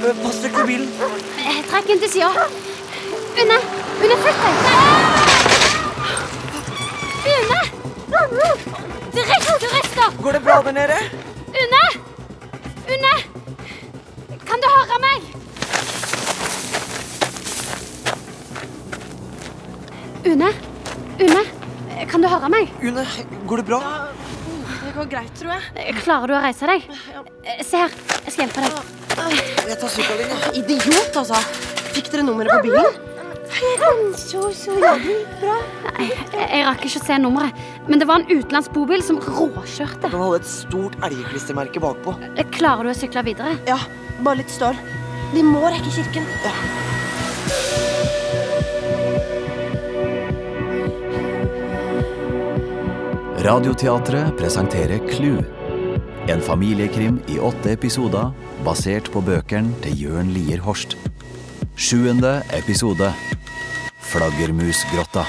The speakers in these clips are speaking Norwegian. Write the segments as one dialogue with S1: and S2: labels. S1: Eh, Pass deg for bilen.
S2: Jeg trakk den Eh, til sida. Une! Une, flytt deg! Une! Dritt! Du rister!
S1: Går det bra der nede?
S2: Une! Une! Kan du høre meg? Une? Une? Kan du høre meg?
S1: Une, går det bra?
S3: Det går greit, tror jeg.
S2: Klarer du å reise deg? Eh, Se her, jeg skal hjelpe deg.
S1: Jeg tar sykkelen din.
S3: Idiot, altså. Fikk dere nummeret på bilen?
S2: Nei, jeg Eh, jeg rakk ikke å se nummeret. Men det var en utenlandsk bobil som råkjørte. Eh,
S1: Den hadde et stort elgeklistremerke bakpå.
S2: Klarer du å sykle videre?
S3: Ja, bare litt stål. De må rekke kirken.
S4: Radioteatret presenterer Clou. En familiekrim i åtte episoder basert på bøkene til Jørn Lier Horst. Sjuende episode Flaggermusgrotta.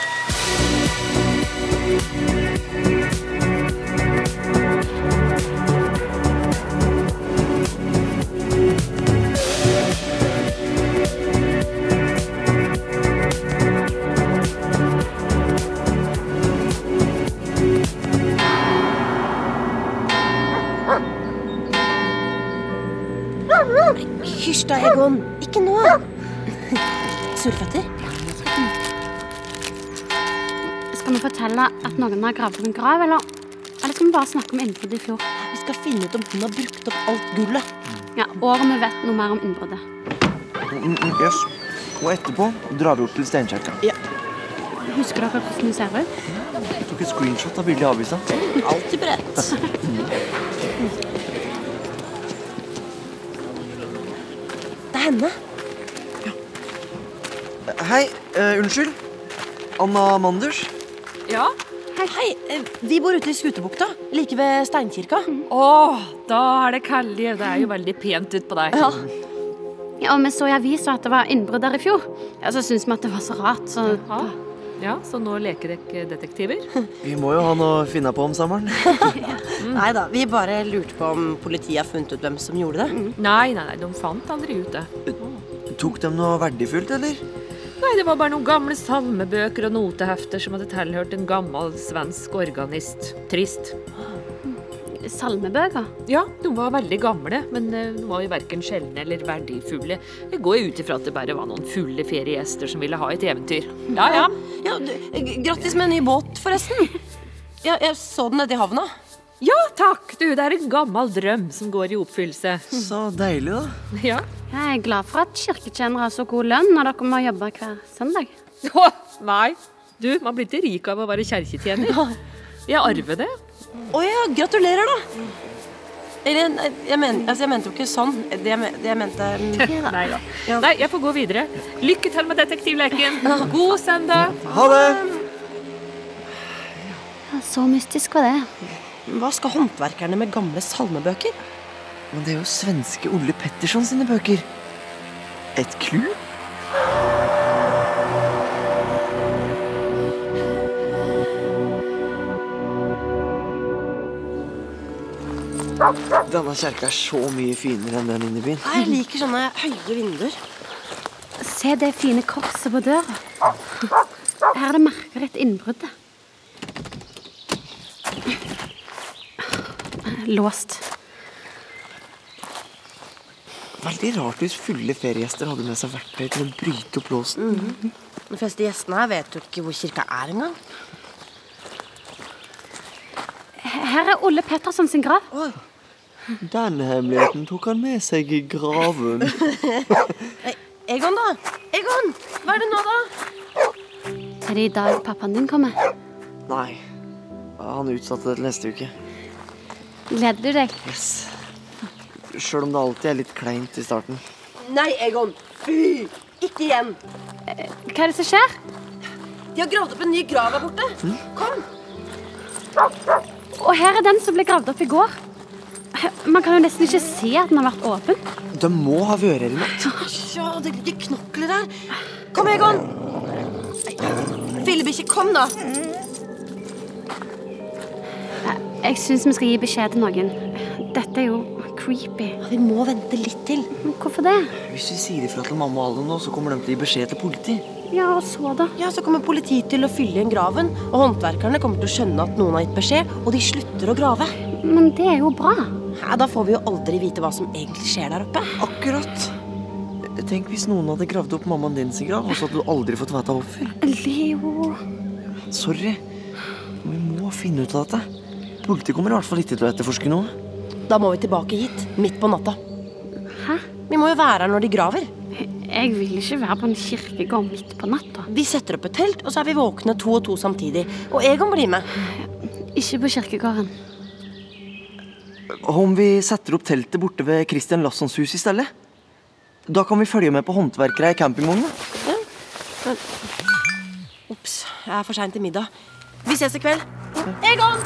S3: Hysj da, Egon. Ikke nå. Surføtter?
S2: Skal vi fortelle at noen har gravd en grav, eller? Eller skal vi bare snakke om innbruddet i fjor?
S3: Vi skal finne ut om hun har brukt opp alt gullet.
S2: Ja, Og om vi vet noe mer om innbruddet.
S1: Mm, mm, Yes. Og etterpå drar vi opp til Steinkjerka.
S2: Husker dere hvordan hun ser ut?
S1: Jeg tok et screenshot av bildet i avisa.
S3: Alltid beredt. Det er henne.
S1: Hei, eh, unnskyld. Anna Manders.
S5: Ja?
S3: Hei, eh, vi bor ute i Skutebukta, like ved Steinkirka.
S5: Åh, da er det Kalli. Det er jo veldig pent ut på deg.
S3: Ja.
S2: Ja, og Vi så i avisa at det var innbrudd der i fjor. Ja, Så syntes vi at det var så rart. Så
S5: Ja. ja, så nå leker dere detektiver?
S1: Vi må jo ha noe å finne på om sommeren.
S3: Nei da, vi bare lurte på om politiet har funnet ut hvem som gjorde det.
S5: Nei, nei, nei, de fant aldri ut det.
S1: Tok de noe verdifullt, eller?
S5: Nei, det var bare noen gamle salmebøker og notehefter som hadde tilhørt en gammel svensk organist. Trist.
S2: Salmebøker?
S5: Ja, de var veldig gamle, men eh, de var jo verken sjeldne eller verdifulle. Jeg går jo ut ifra at det bare var noen fulle feriegjester som ville ha et eventyr. Ja, ja.
S3: Ja, du, g- Grattis med en ny båt, forresten. Ja, jeg så den nede i havna.
S5: Ja takk, du. Det er en gammel drøm som går i oppfyllelse.
S1: Så deilig, da.
S5: Ja.
S2: Jeg er glad for at kirketjenere har så god lønn når dere må jobbe hver søndag.
S5: Åh, nei. Du, man blir ikke rik av å være kjerketjener. Jeg arver det.
S3: Å ja, gratulerer, da. Eller, nei, jeg, men, altså, jeg mente jo ikke sånn. Det jeg, men- det jeg mente mm.
S5: Nei da. Nei, jeg får gå videre. Lykke til med detektivleken. God søndag.
S1: Ha det!
S2: Ja, Så mystisk var det.
S3: Hva skal håndverkerne med gamle salmebøker?
S1: Men det er jo svenske Ole Petterson sine bøker. Et clou? Denne kjerka er så mye finere enn den inne i byen.
S3: Jeg liker sånne høye vinduer.
S2: Se det fine korset på døra. Her er det merker etter innbruddet. Låst.
S1: Veldig rart hvis fulle feriegjester hadde med seg verktøy til å bryte opp låsen.
S3: De fleste gjestene her vet jo ikke hvor kirka er engang.
S2: Her er Ole Pettersen sin grav.
S1: Den hemmeligheten tok han med seg i graven.
S3: Nei, Egon, da. Egon, hva er det nå, da?
S2: Er det i dag pappaen din kommer?
S1: Nei, han utsatte det til neste uke.
S2: Gleder du deg?
S1: Yes. Sjøl om det alltid er litt kleint i starten.
S3: Nei, Egon. Fy! Ikke igjen.
S2: Hva er det som skjer?
S3: De har gravd opp en ny grav her borte. Kom.
S2: Og her er den som ble gravd opp i går. Man kan jo nesten ikke se at den har vært åpen.
S1: De må ha vært her i natt.
S3: Ja, det ligger knokler her. Kom, Egon. Nei, Fillebikkje, kom, da.
S2: Jeg syns vi skal gi beskjed til noen. Dette er jo creepy.
S3: Vi må vente litt til.
S2: Men hvorfor det?
S1: Hvis vi sier ifra til mamma og alle nå, så kommer de til å gi beskjed til politiet.
S2: Ja, og så, da?
S3: Ja, Så kommer politiet til å fylle igjen graven, og håndverkerne kommer til å skjønne at noen har gitt beskjed, og de slutter å grave.
S2: Men det er jo bra.
S3: Ja, da får vi jo aldri vite hva som egentlig skjer der oppe.
S1: Akkurat. Tenk hvis noen hadde gravd opp mammaen din sin grav, og så hadde du aldri fått vite hvorfor.
S2: Leo
S1: Sorry. Vi må finne ut av dette. Politiet kommer i hvert fall ikke til å etterforske noe.
S3: Da må vi tilbake hit, midt på natta.
S2: Hæ?
S3: Vi må jo være her når de graver.
S2: Jeg vil ikke være på en kirkegård midt på natta.
S3: Vi setter opp et telt, og så er vi våkne to og to samtidig. Og Egon blir med.
S2: Ikke på kirkegården.
S1: Om vi setter opp teltet borte ved Christian Lassons hus i stedet? Da kan vi følge med på håndverkere i campingvogna.
S3: Ops, jeg er for sein til middag. Vi ses i kveld. Egon!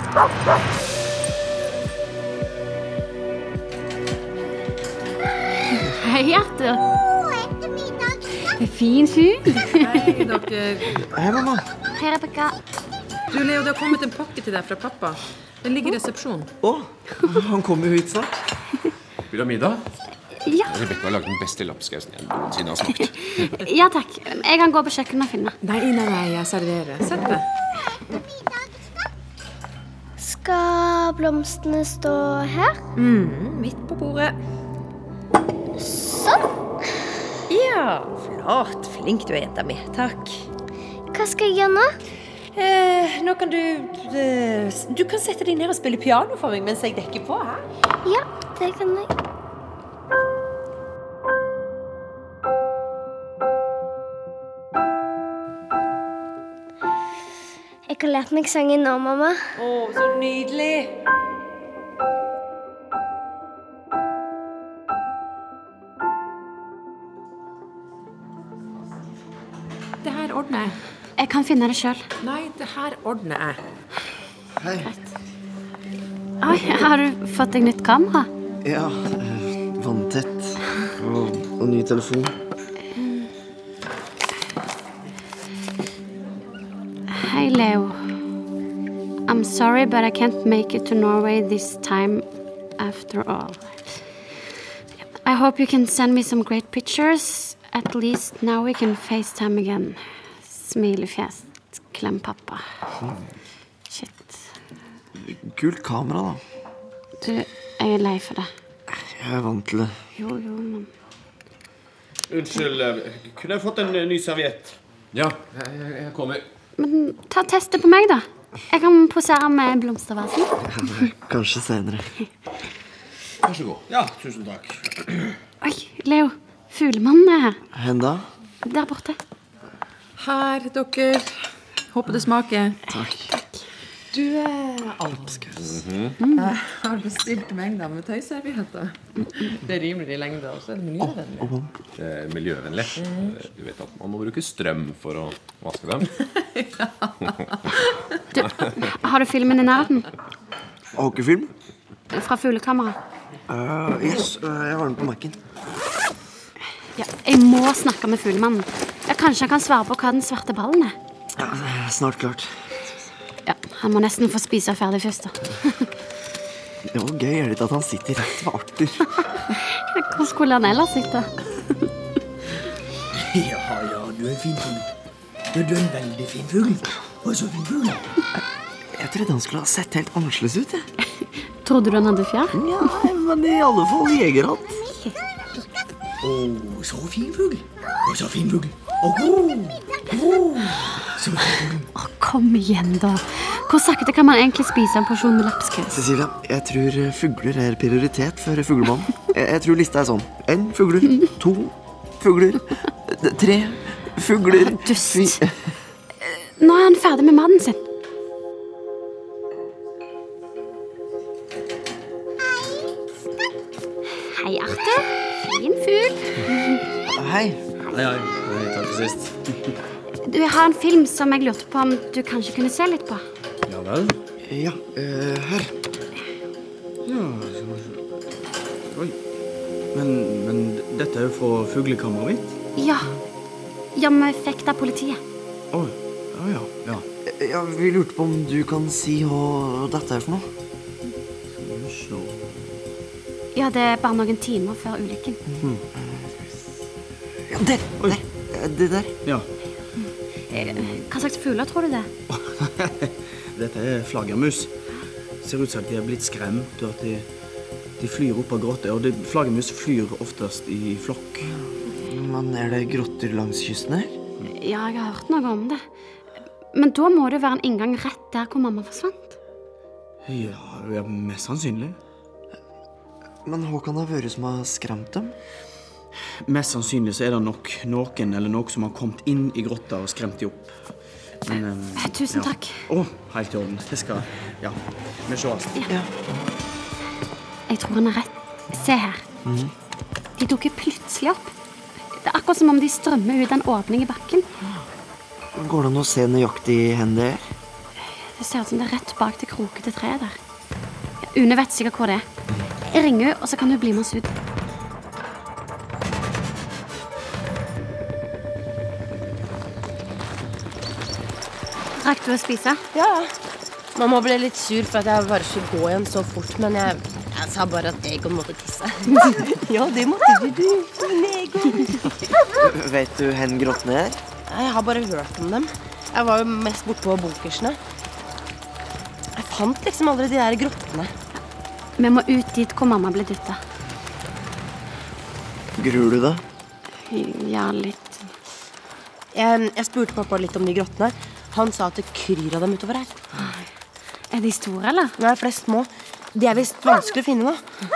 S2: Hei, Arthur. Fin fyr.
S6: Hei, dere.
S1: Hei, mamma.
S2: Hei, Rebekka.
S6: Du, Leo, det har kommet en pakke til deg fra pappa. Den ligger i resepsjonen.
S1: Å, han kommer jo hit snart.
S7: Vil du ha middag?
S2: Ja.
S7: Rebekka har lagd den beste lapskausen jeg noensinne har smakt.
S2: ja takk. Jeg kan gå på kjøkkenet og finne.
S6: Nei, nei, nei, jeg serverer. Sett deg.
S8: Skal blomstene stå her?
S9: Mm,
S6: Midt på bordet.
S8: Sånn.
S9: Ja, flott. Flink du er, jenta mi. Takk.
S8: Hva skal jeg gjøre nå?
S9: Eh, nå kan du eh, Du kan sette deg ned og spille piano for meg mens jeg dekker på. Hæ?
S8: Ja, det kan jeg. Jeg har lært meg sangen nå, mamma.
S9: Å, så nydelig.
S6: Det her ordner jeg.
S2: Jeg kan finne det sjøl.
S6: Nei, det her ordner jeg.
S2: Oi, har du fått deg nytt kamera?
S1: Ja, eh, vanntett. Og, og ny telefon.
S2: Hei, Leo. I'm sorry, but I can't make it to Norway this time after all. I hope you can send me some great pictures. At least now we can FaceTime again. Smilefjes. Klem pappa. Shit.
S1: Kult kamera, da.
S2: Du, jeg er lei for det.
S1: Jeg er vant til det.
S2: Jo, jo, men
S10: Unnskyld, eh, kunne jeg fått en ny serviett?
S7: Ja, jeg, jeg- jeg kommer.
S2: Ta testet på meg, da. Jeg kan posere med blomstervasen.
S1: Kanskje senere.
S7: Vær så god.
S10: Ja, tusen takk.
S2: Oi, Leo. Fuglemannen er her.
S1: Hen da?
S2: Der borte.
S6: Her, dere. Håper det smaker. Takk. Du eh, er alpskaus. Jeg har bestilt mengder med tøyservietter. Det er rimelig lengde, og så er det miljøvennlig.
S7: Eh, miljøvennlig. Eh, Du vet at man må bruke strøm for å vaske dem.
S2: Du, har du filmen i nærheten?
S1: Hakefilm?
S2: Fra fuglekameraet?
S1: Uh, yes, eh, jeg har den på Mac-en.
S2: Ja, jeg må snakke med fuglemannen. Ja, kanskje han kan svare på hva den svarte ballen er.
S1: Eh, Snart klart.
S2: Ja, Han må nesten få spise ferdig først. da.
S1: Det var gøy er det ikke at han sitter rett ved Arthur.
S2: Hvor skulle han ellers sitte?
S11: Ja, ja, du er en fin fugl. Du, du er en veldig fin fugl. Og så fin fugl.
S1: Jeg trodde han skulle ha sett helt annerledes ut. jeg. Mm,
S2: Trodde du han hadde fjær?
S1: Ja, men i alle fall jegerhatt.
S11: Og så fin fugl. Og så fin fugl. Og god. God. Så fin fugl.
S2: Å, Kom igjen, da. Hvor sakte kan man egentlig spise en porsjon med lapskaus?
S1: Cecilia, jeg tror eh, fugler er prioritet for fuglemannen. Jeg, jeg tror lista er sånn. Én fugler, to fugler, eh, tre fugler
S2: Dust. Nå er han ferdig med mannen sin. Hei, Arte. Fin fugl.
S1: Hei.
S10: Hei, hei. Takk for sist.
S2: Du jeg har en film som jeg lurte på om du kanskje kunne se litt på.
S10: Ja vel?
S1: Ja, eh, her.
S11: Men, dette er jo fra fuglekammeret mitt.
S2: Ja. Ja, men vi fikk da politiet.
S11: Å, ja, ja.
S1: Eh, Ja, vi lurte på om du kan si hva dette er for noe.
S11: ja.
S2: Ja, det er bare noen timer før ulykken.
S1: Ja, der! der. Eh, Det der.
S11: Ja.
S2: Eh, Hva slags fugler tror du det? er?
S11: Dette er flaggermus. Ser ut som at de har blitt skremt, og at de, de flyr opp av grotter. Og det- flaggermus flyr oftest i flokk.
S1: Men er det grotter langs kysten her?
S2: Ja, jeg har hørt noe om det. Men da må det jo være en inngang rett der hvor mamma forsvant.
S11: Ja, ja mest sannsynlig.
S1: Men Håkan har vært som har skremt dem?
S11: Mest sannsynlig så er det nok noen eller noe som har kommet inn i grotta og skremt de opp. Men, eh,
S2: Tusen takk.
S11: Å, helt i orden. Det skal Ja. Vi ses.
S2: Jeg tror han har rett. Se her. De dukker plutselig opp. Det er akkurat som om de strømmer ut en åpning i bakken.
S1: Går det an å se nøyaktig hen det er?
S2: Det ser ut som det er rett bak det krokete treet der. Ja, Une vet sikkert hvor det er. Jeg ringer henne, og så kan hun bli med oss ut. Rakk du å spise?
S3: Ja, Mamma ble litt sur for at jeg bare skulle gå igjen så fort, men jeg, jeg sa bare at Egon måtte tisse. ja, det måtte du, du. Men Egon.
S1: Vet du hen grottene er?
S3: Jeg har bare hørt om dem. Jeg var jo mest bortpå bunkersene. Jeg fant liksom aldri de der grottene.
S2: Vi må ut dit hvor mamma ble dytta.
S1: Gruer du deg?
S2: Ja, litt.
S3: Jeg, jeg spurte pappa litt om de grottene. Han sa at det kryr av dem utover her.
S2: Er de store, eller?
S3: Nei, flest små. De er visst vanskelig å finne, da.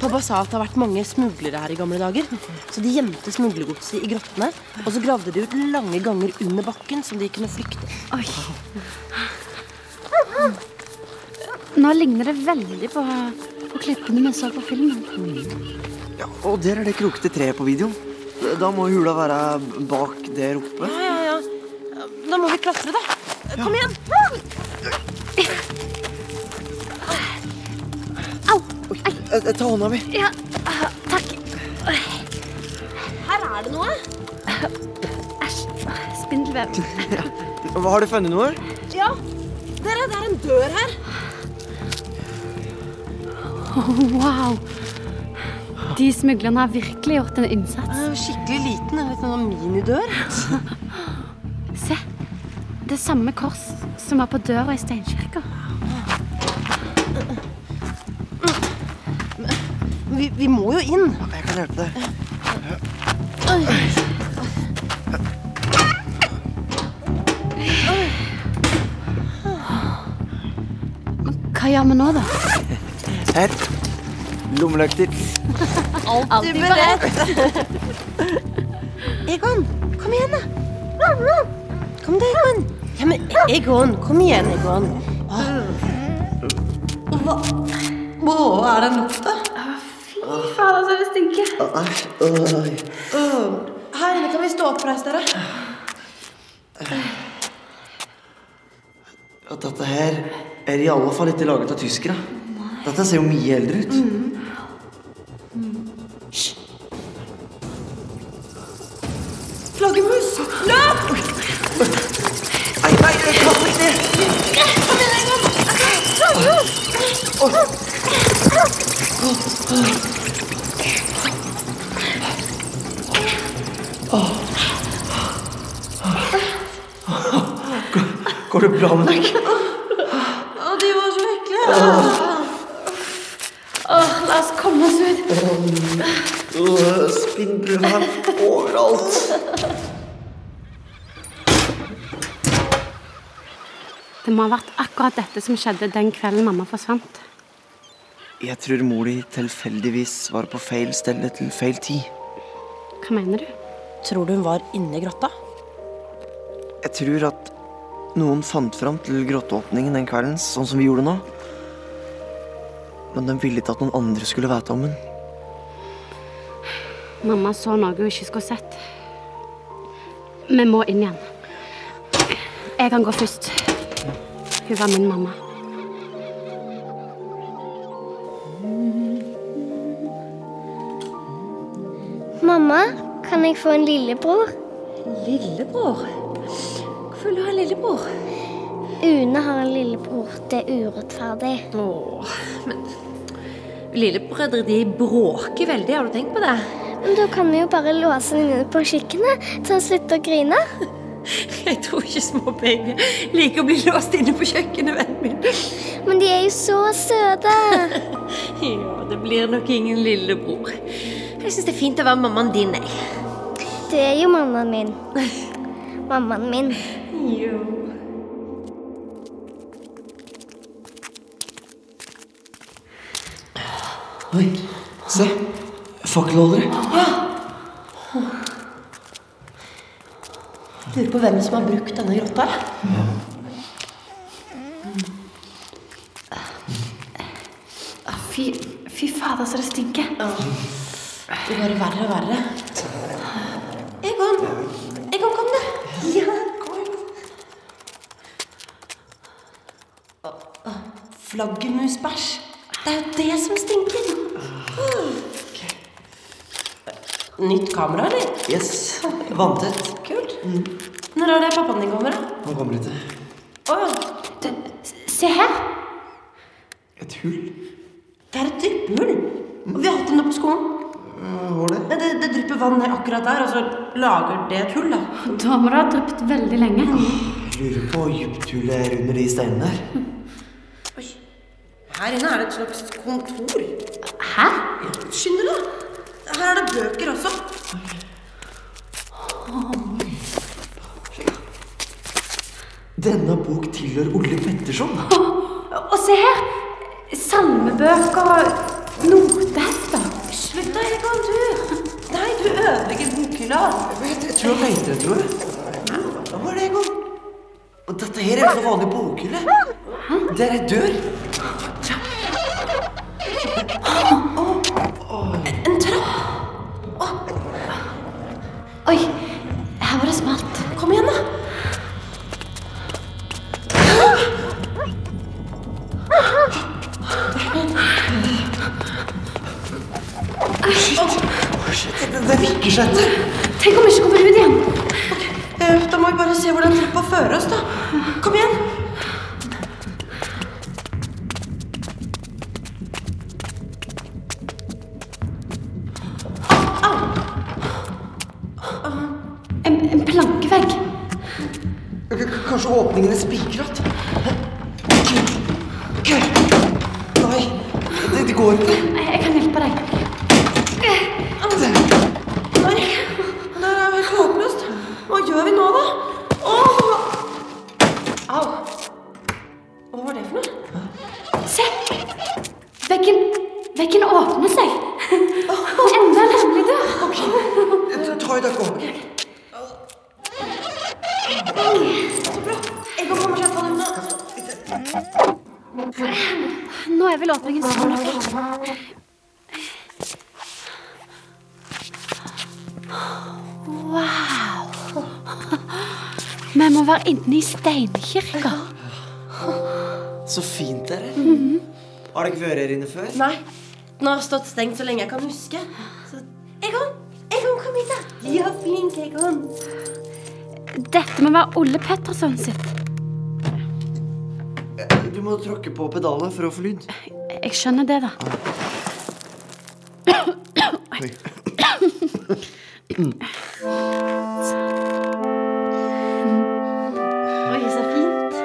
S3: Pappa sa at det har vært mange smuglere her i gamle dager. Så de gjemte smuglergodset i grottene. Og så gravde de ut lange ganger under bakken som de kunne flykte.
S2: Oi. Nå ligner det veldig på, på klippene vi så på filmen.
S1: Ja, og der er det krokete treet på videoen. Da må hula være bak der oppe.
S3: Ja, ja, ja. Da må vi klatre, da. Kom igjen.
S1: Eh, Ta hånda mi.
S2: Ja, takk.
S3: Her er det noe.
S2: Æsj. Spindelvev.
S1: Har du funnet noe?
S3: Ja. Dere, det er en dør her.
S2: Oh, wow. De smuglerne har virkelig gjort en innsats.
S3: Den er jo skikkelig liten. En liten minidør.
S2: Se. Det er samme kors som var på døra i steinkirka.
S3: Vi, vi må jo inn.
S1: Jeg kan hjelpe deg.
S2: Hva gjør vi nå, da?
S1: Her. Lommelykter.
S3: Alltid beredt. Egon, kom igjen, da. Kom deg, Egon. Ja, men Egon, kom igjen, Egon. Hva? Hva er den lukta?
S2: Fy fader, så det stinker.
S3: Her inne kan vi stå oppreist, dere.
S1: At dette her er i alle fall ikke laget av tyskere. Dette ser jo mye eldre ut.
S3: Flaggermus, løp!
S1: Nei, nei, nei, kast ikke det! Går det bra med deg?
S3: Å, de var så ekle.
S2: Åh, la oss komme oss ut.
S1: Øh, Spindelvev overalt.
S2: Det må ha vært akkurat dette som skjedde den kvelden mamma forsvant.
S1: Jeg tror mor di tilfeldigvis var på feil sted til feil tid.
S2: Hva mener du?
S3: Tror du hun var inne i grotta?
S1: Jeg tror at noen fant fram til grotteåpningen den kvelden, sånn som vi gjorde nå. Men de ville ikke at noen andre skulle vite om den.
S2: Mamma så noe hun ikke skulle sett. Vi må inn igjen. Jeg kan gå først. Hun var min mamma.
S8: Mamma, kan jeg få en lillebror?
S9: Lillebror? Hvorfor vil du ha lillebror?
S8: Une har en lillebror. Det er urettferdig.
S9: Åh, men
S3: Lillebrødre de bråker veldig, har du tenkt på det?
S8: Men da kan vi jo bare låse den inne på kjøkkenet, så han slutter å grine.
S3: Jeg tror ikke små babyer liker å bli låst inne på kjøkkenet, vennen min.
S8: Men de er jo så søte.
S3: Ja, det blir nok ingen lillebror. Jeg syns det er fint å være mammaen din, jeg.
S8: Du er jo mammaen min. Mammaen min.
S1: Oi, se. Fakkelholdere.
S3: Ja. Lurer på hvem som har brukt denne grotta. Ah,
S2: Fy, fy fader, så det stinker.
S3: Det går verre og verre. Egon! Egon, kom, da! Ja, kom. Å, å, Flaggermusbæsj. Det er jo det som stinker. Mm. Nytt kamera, eller?
S1: Yes. Vanntett.
S3: Kult. Når er det pappaen din kommer, da?
S1: Han kommer ikke.
S3: Å,
S2: se her.
S1: Et hull.
S3: Det er et dryppehull. Og vi har hatt den oppe på skolen.
S1: Eh, Var det?
S3: Men det, det drypper vann ned akkurat der, og så lager det et hull, da.
S2: Da må det ha dryppet veldig lenge.
S1: Jeg lurer på hvor dypt hullet er under de steinene der.
S3: Her inne er det et slags kontor.
S2: Hæ?
S3: Skynd deg, da. Her er det bøker også.
S1: Denne bok tilhører Ole Petterson.
S2: Og se her. Salmebøker og notehefter.
S3: Slutt da, Egon, du. Nei, du ødelegger bokhylla.
S1: Jeg tror han leter etter noe. Hva er det, Egon? Og Dette her er jo en sånn vanlig bokhylle. Der er ei dør.
S3: En trapp.
S2: Oi, her var det smalt.
S3: Kom igjen, da.
S1: Det, det vikker seg etter.
S2: Tenk om vi ikke kommer ut igjen.
S3: Eh, Da må vi bare se hvordan trappa fører oss, da. Kom igjen.
S2: En, en plankevegg.
S1: K- k- Kanskje åpningen er spikret? Nei, det, det går ikke.
S2: Jeg, jeg kan hjelpe deg.
S3: Oi, der er vi helt håpløst. Hva gjør vi nå, da? Åh! Au. Hva var det for noe?
S2: Se! Veggen, veggen åpner seg. Enda en hemmelig dør.
S1: Ta- Ta i dere opp.
S3: Egon kommer seg på den unna.
S2: Nå er vel åpningen stor nok. Wow. Vi må være inne i steinkirka.
S1: Så fint det er her. Har dere vært her inne før?
S3: Nei, den har stått stengt så lenge jeg kan huske. Så... Egon! Egon, kom hit, da! Ja, flink, Egon.
S2: Dette må være Ole Petterson sitt.
S1: Du må tråkke på pedalet for å få lyd.
S2: Jeg skjønner det, da.
S1: Oi.
S3: Oi, så fint.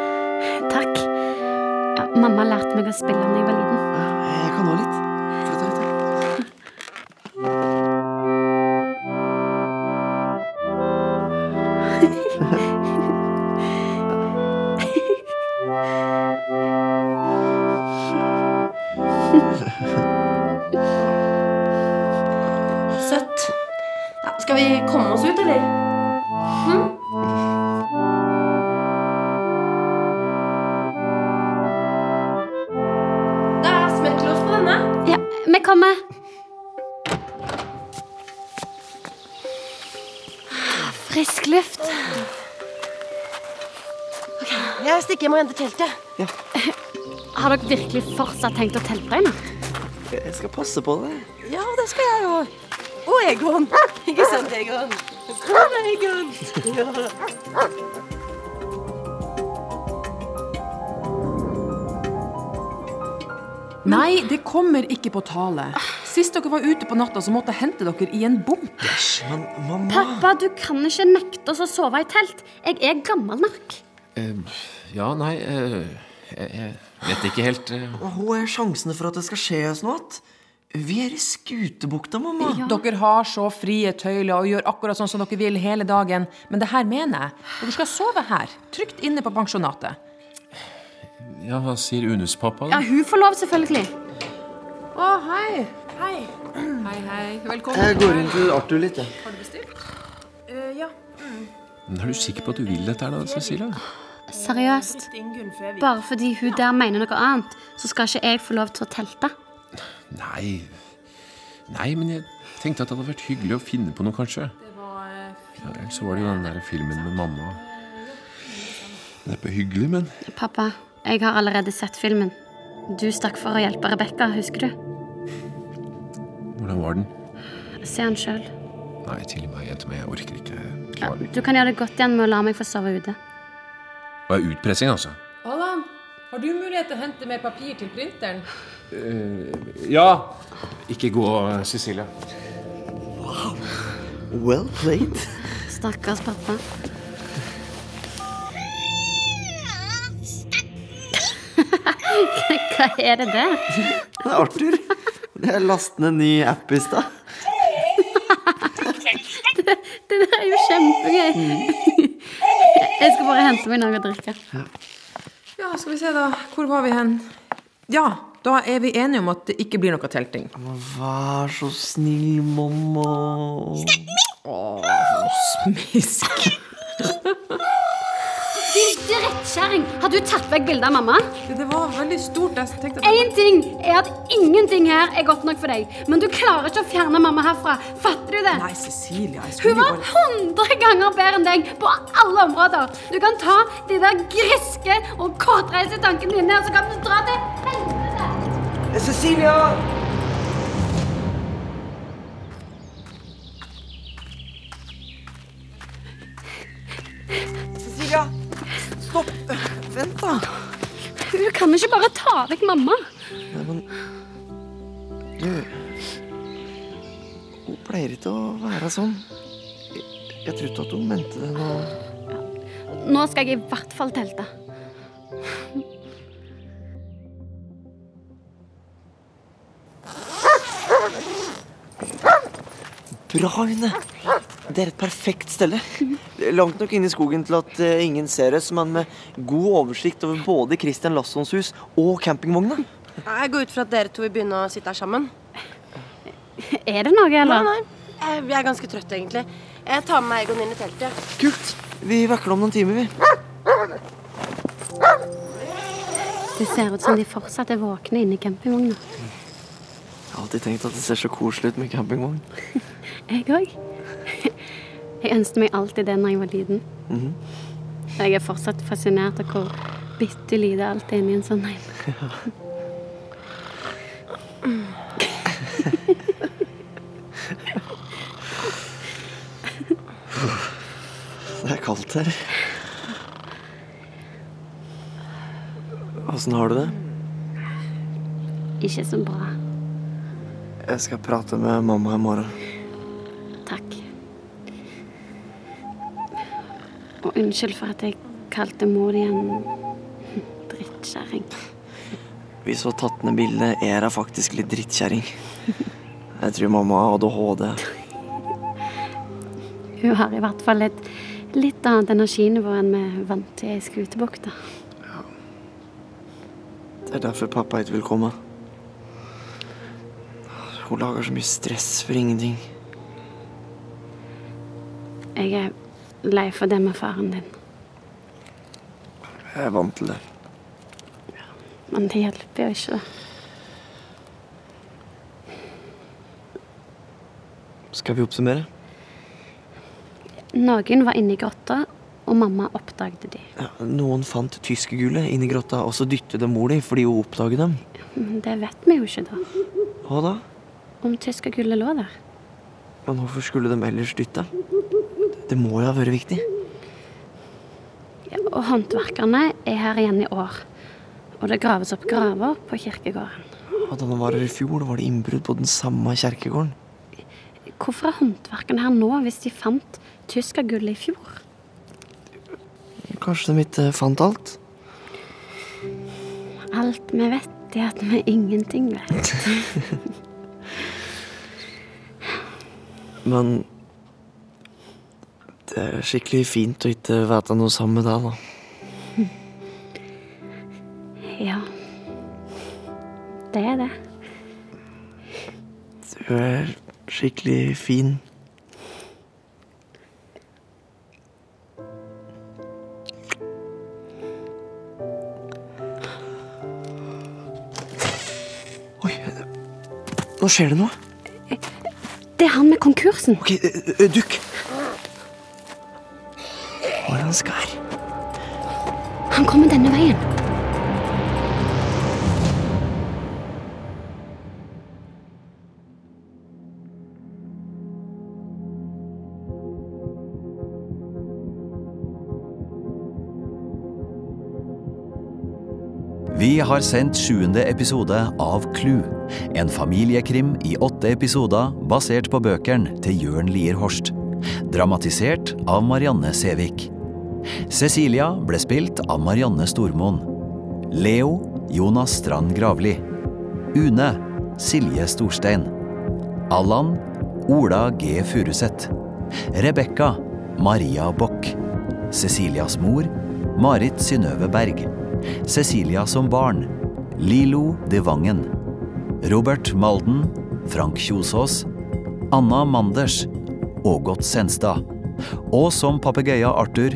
S2: Takk. Ja, mamma lærte meg å spille da jeg var liten.
S1: Jeg kan nå litt. For å ta litt.
S3: Søtt. Ja, skal vi komme oss ut, eller? Hm? Det er smekklås på denne.
S2: Ja, vi kommer. Frisk luft.
S3: Jeg stikker hjem og henter teltet.
S2: Har dere virkelig fortsatt tenkt å teltregne?
S1: Jeg skal passe på det.
S3: Ja, det skal jeg òg. Og Egon. Ikke sant, Egon? Kom, da, Egon. Ja.
S6: Nei, det kommer ikke på tale. Sist dere var ute på natta, så måtte jeg hente dere i en bunkers.
S1: Men mamma
S2: Pappa, du kan ikke nekte oss å sove i telt. Jeg er gammel nok.
S7: ja, nei eh, jeg, jeg vet ikke helt. eh.
S1: Hva er sjansene for at det skal skje oss noe? att? Vi er i Skutebukta, mamma.
S6: Dere har så frie tøyler og gjør akkurat sånn som dere vil hele dagen. Men det her mener jeg. Dere skal sove her, trygt inne på pensjonatet.
S7: Ja, hva sier unuspappa, da?
S2: Ja, hun får lov, selvfølgelig.
S6: Å, hei. Hei. Hei, hei. Velkommen.
S1: Jeg går inn til Arthur litt, jeg.
S6: Har du bestilt?
S9: ja.
S7: Men Er du sikker på at du vil dette her, da, Cecilia?
S2: Seriøst. Bare fordi hun der mener noe annet, så skal ikke jeg få lov til å telte.
S7: Nei. Nei, men jeg tenkte at det hadde vært hyggelig å finne på noe, kanskje. Ja, ellers så var det jo den der filmen med mamma. Det er på hyggelig, men
S2: Pappa, jeg har allerede sett filmen. Du stakk for å hjelpe Rebekka, husker du?
S7: hvordan var den?
S2: Se han sjøl.
S7: Nei, til meg, jente meg, jeg orker ikke. Klarer
S2: Du
S7: ikke.
S2: kan gjøre det godt igjen med å la meg få sove ute.
S7: Det er utpressing, altså.
S6: Allan, har du mulighet til å hente mer papir til printeren?
S7: Eh, ja. Ikke gå, eh, Cecilia.
S1: Well played.
S2: Stakkars pappa. Hva er det der?
S1: Det er Arthur. Jeg lastet ned en ny app i stad.
S2: Det, det der er jo kjempegøy. Jeg skal bare hente meg noe å drikke.
S6: Ja, skal vi se da. Hvor var vi hen? Ja, da er vi enige om at det ikke blir noe telting.
S1: Vær så snill, mamma.
S6: Smisk.
S2: Din drittkjerring! Har du tatt vekk bildet av mamma?
S6: Det var veldig stort. Jeg tenkte
S2: Én ting er at ingenting her er godt nok for deg. Men du klarer ikke å fjerne mamma herfra. Fatter du det?
S6: Nei, Cecilia, jeg
S2: Hun
S6: skulle jo
S2: var
S6: bare
S2: 100 ganger bedre enn deg på alle områder. Du kan ta de der griske og kortreiste tankene dine, og så kan du dra til helvete!
S1: Cecilia! Cecilia! Stopp! Vent, da.
S2: Du kan ikke bare ta vekk mamma.
S1: Nei, men Du Hun pleier ikke å være sånn. Jeg, jeg trodde at hun mente det nå.
S2: Nå skal jeg i hvert fall telte.
S1: Bra, Une! Det er et perfekt stelle. Langt nok inne i skogen til at eh, ingen ser oss, men med god oversikt over både Christian Lassons hus og campingvogna.
S3: Jeg går ut fra at dere to vil begynne å sitte her sammen.
S2: Er det noe, eller?
S3: Nei, nei. Jeg jeg Eh, er ganske trøtt, egentlig. Jeg tar med meg Egon inn i teltet.
S1: Kult! Vi vekker om noen timer, vi.
S2: Det ser ut som de fortsatt er våkne inne i campingvogna.
S1: Jeg har alltid tenkt at det ser så koselig ut med campingvogn.
S2: Jeg òg. Jeg ønsket meg alltid det når jeg var liten.
S1: Mhm.
S2: Jeg er fortsatt fascinert av hvor bitte lite alt er inni en sånn en.
S1: Det er kaldt her. Åssen har du det?
S2: Ikke så bra.
S1: Jeg skal prate med mamma i morgen.
S2: Takk. Og unnskyld for at jeg kalte mor di en drittkjerring.
S1: Vi så tatt ned bildet. Jeg er faktisk litt drittkjerring. Jeg tror mamma har ADHD.
S2: Hun har i hvert fall et litt annet energinivå enn vi er vant til i Skutebukta.
S1: Det er derfor pappa ikke vil komme. Hun lager så mye stress for ingenting.
S2: Jeg er lei for det med faren din,
S1: Jeg er vant til det.
S2: men det hjelper jo ikke.
S1: Skal vi oppsummere?
S2: Noen var inni grotta, og mamma oppdaget de.
S1: Ja, noen fant tyskergullet inni grotta, og så dyttet de mor di fordi hun oppdaget dem.
S2: Men det vet vi jo ikke, da.
S1: Hva da?
S2: Om tyskergullet lå der.
S1: Men hvorfor skulle de ellers dytte? Det må jo ha vært viktig.
S2: Ja, Og håndverkerne er her igjen i år. Og det graves opp graver på kirkegården.
S1: Og da han var her i fjor, var det innbrudd på den samme kjerkegården.
S2: Hvorfor er håndverkerne her nå hvis de fant tyskergullet i fjor?
S1: Kanskje de ikke fant alt?
S2: Alt vi vet, er at vi ingenting vet.
S1: Men det er skikkelig fint å ikke vite noe sammen med deg, da.
S2: Ja. Det er det.
S1: Du er skikkelig fin. Oi, nå skjer det noe.
S2: Det er han med konkursen.
S1: Ok, eh, eh, dukk. Hva er det han skal her?
S2: Han kommer denne veien.
S4: Vi har sendt sjuende episode av Klu, en familiekrim i åtte episoder basert på bøkene til Jørn Lier Horst. Dramatisert av Marianne Sævik. Cecilia ble spilt av Marianne Stormoen. Leo Jonas Strand Gravli. Une Silje Storstein. Allan Ola G. Furuseth. Rebekka Maria Bock. Cecilias mor Marit Synnøve Berg. Cecilia som barn. Lilo de Vangen. Robert Malden. Frank Kjosås. Anna Manders. Ågot Senstad. Og som papegøya Arthur.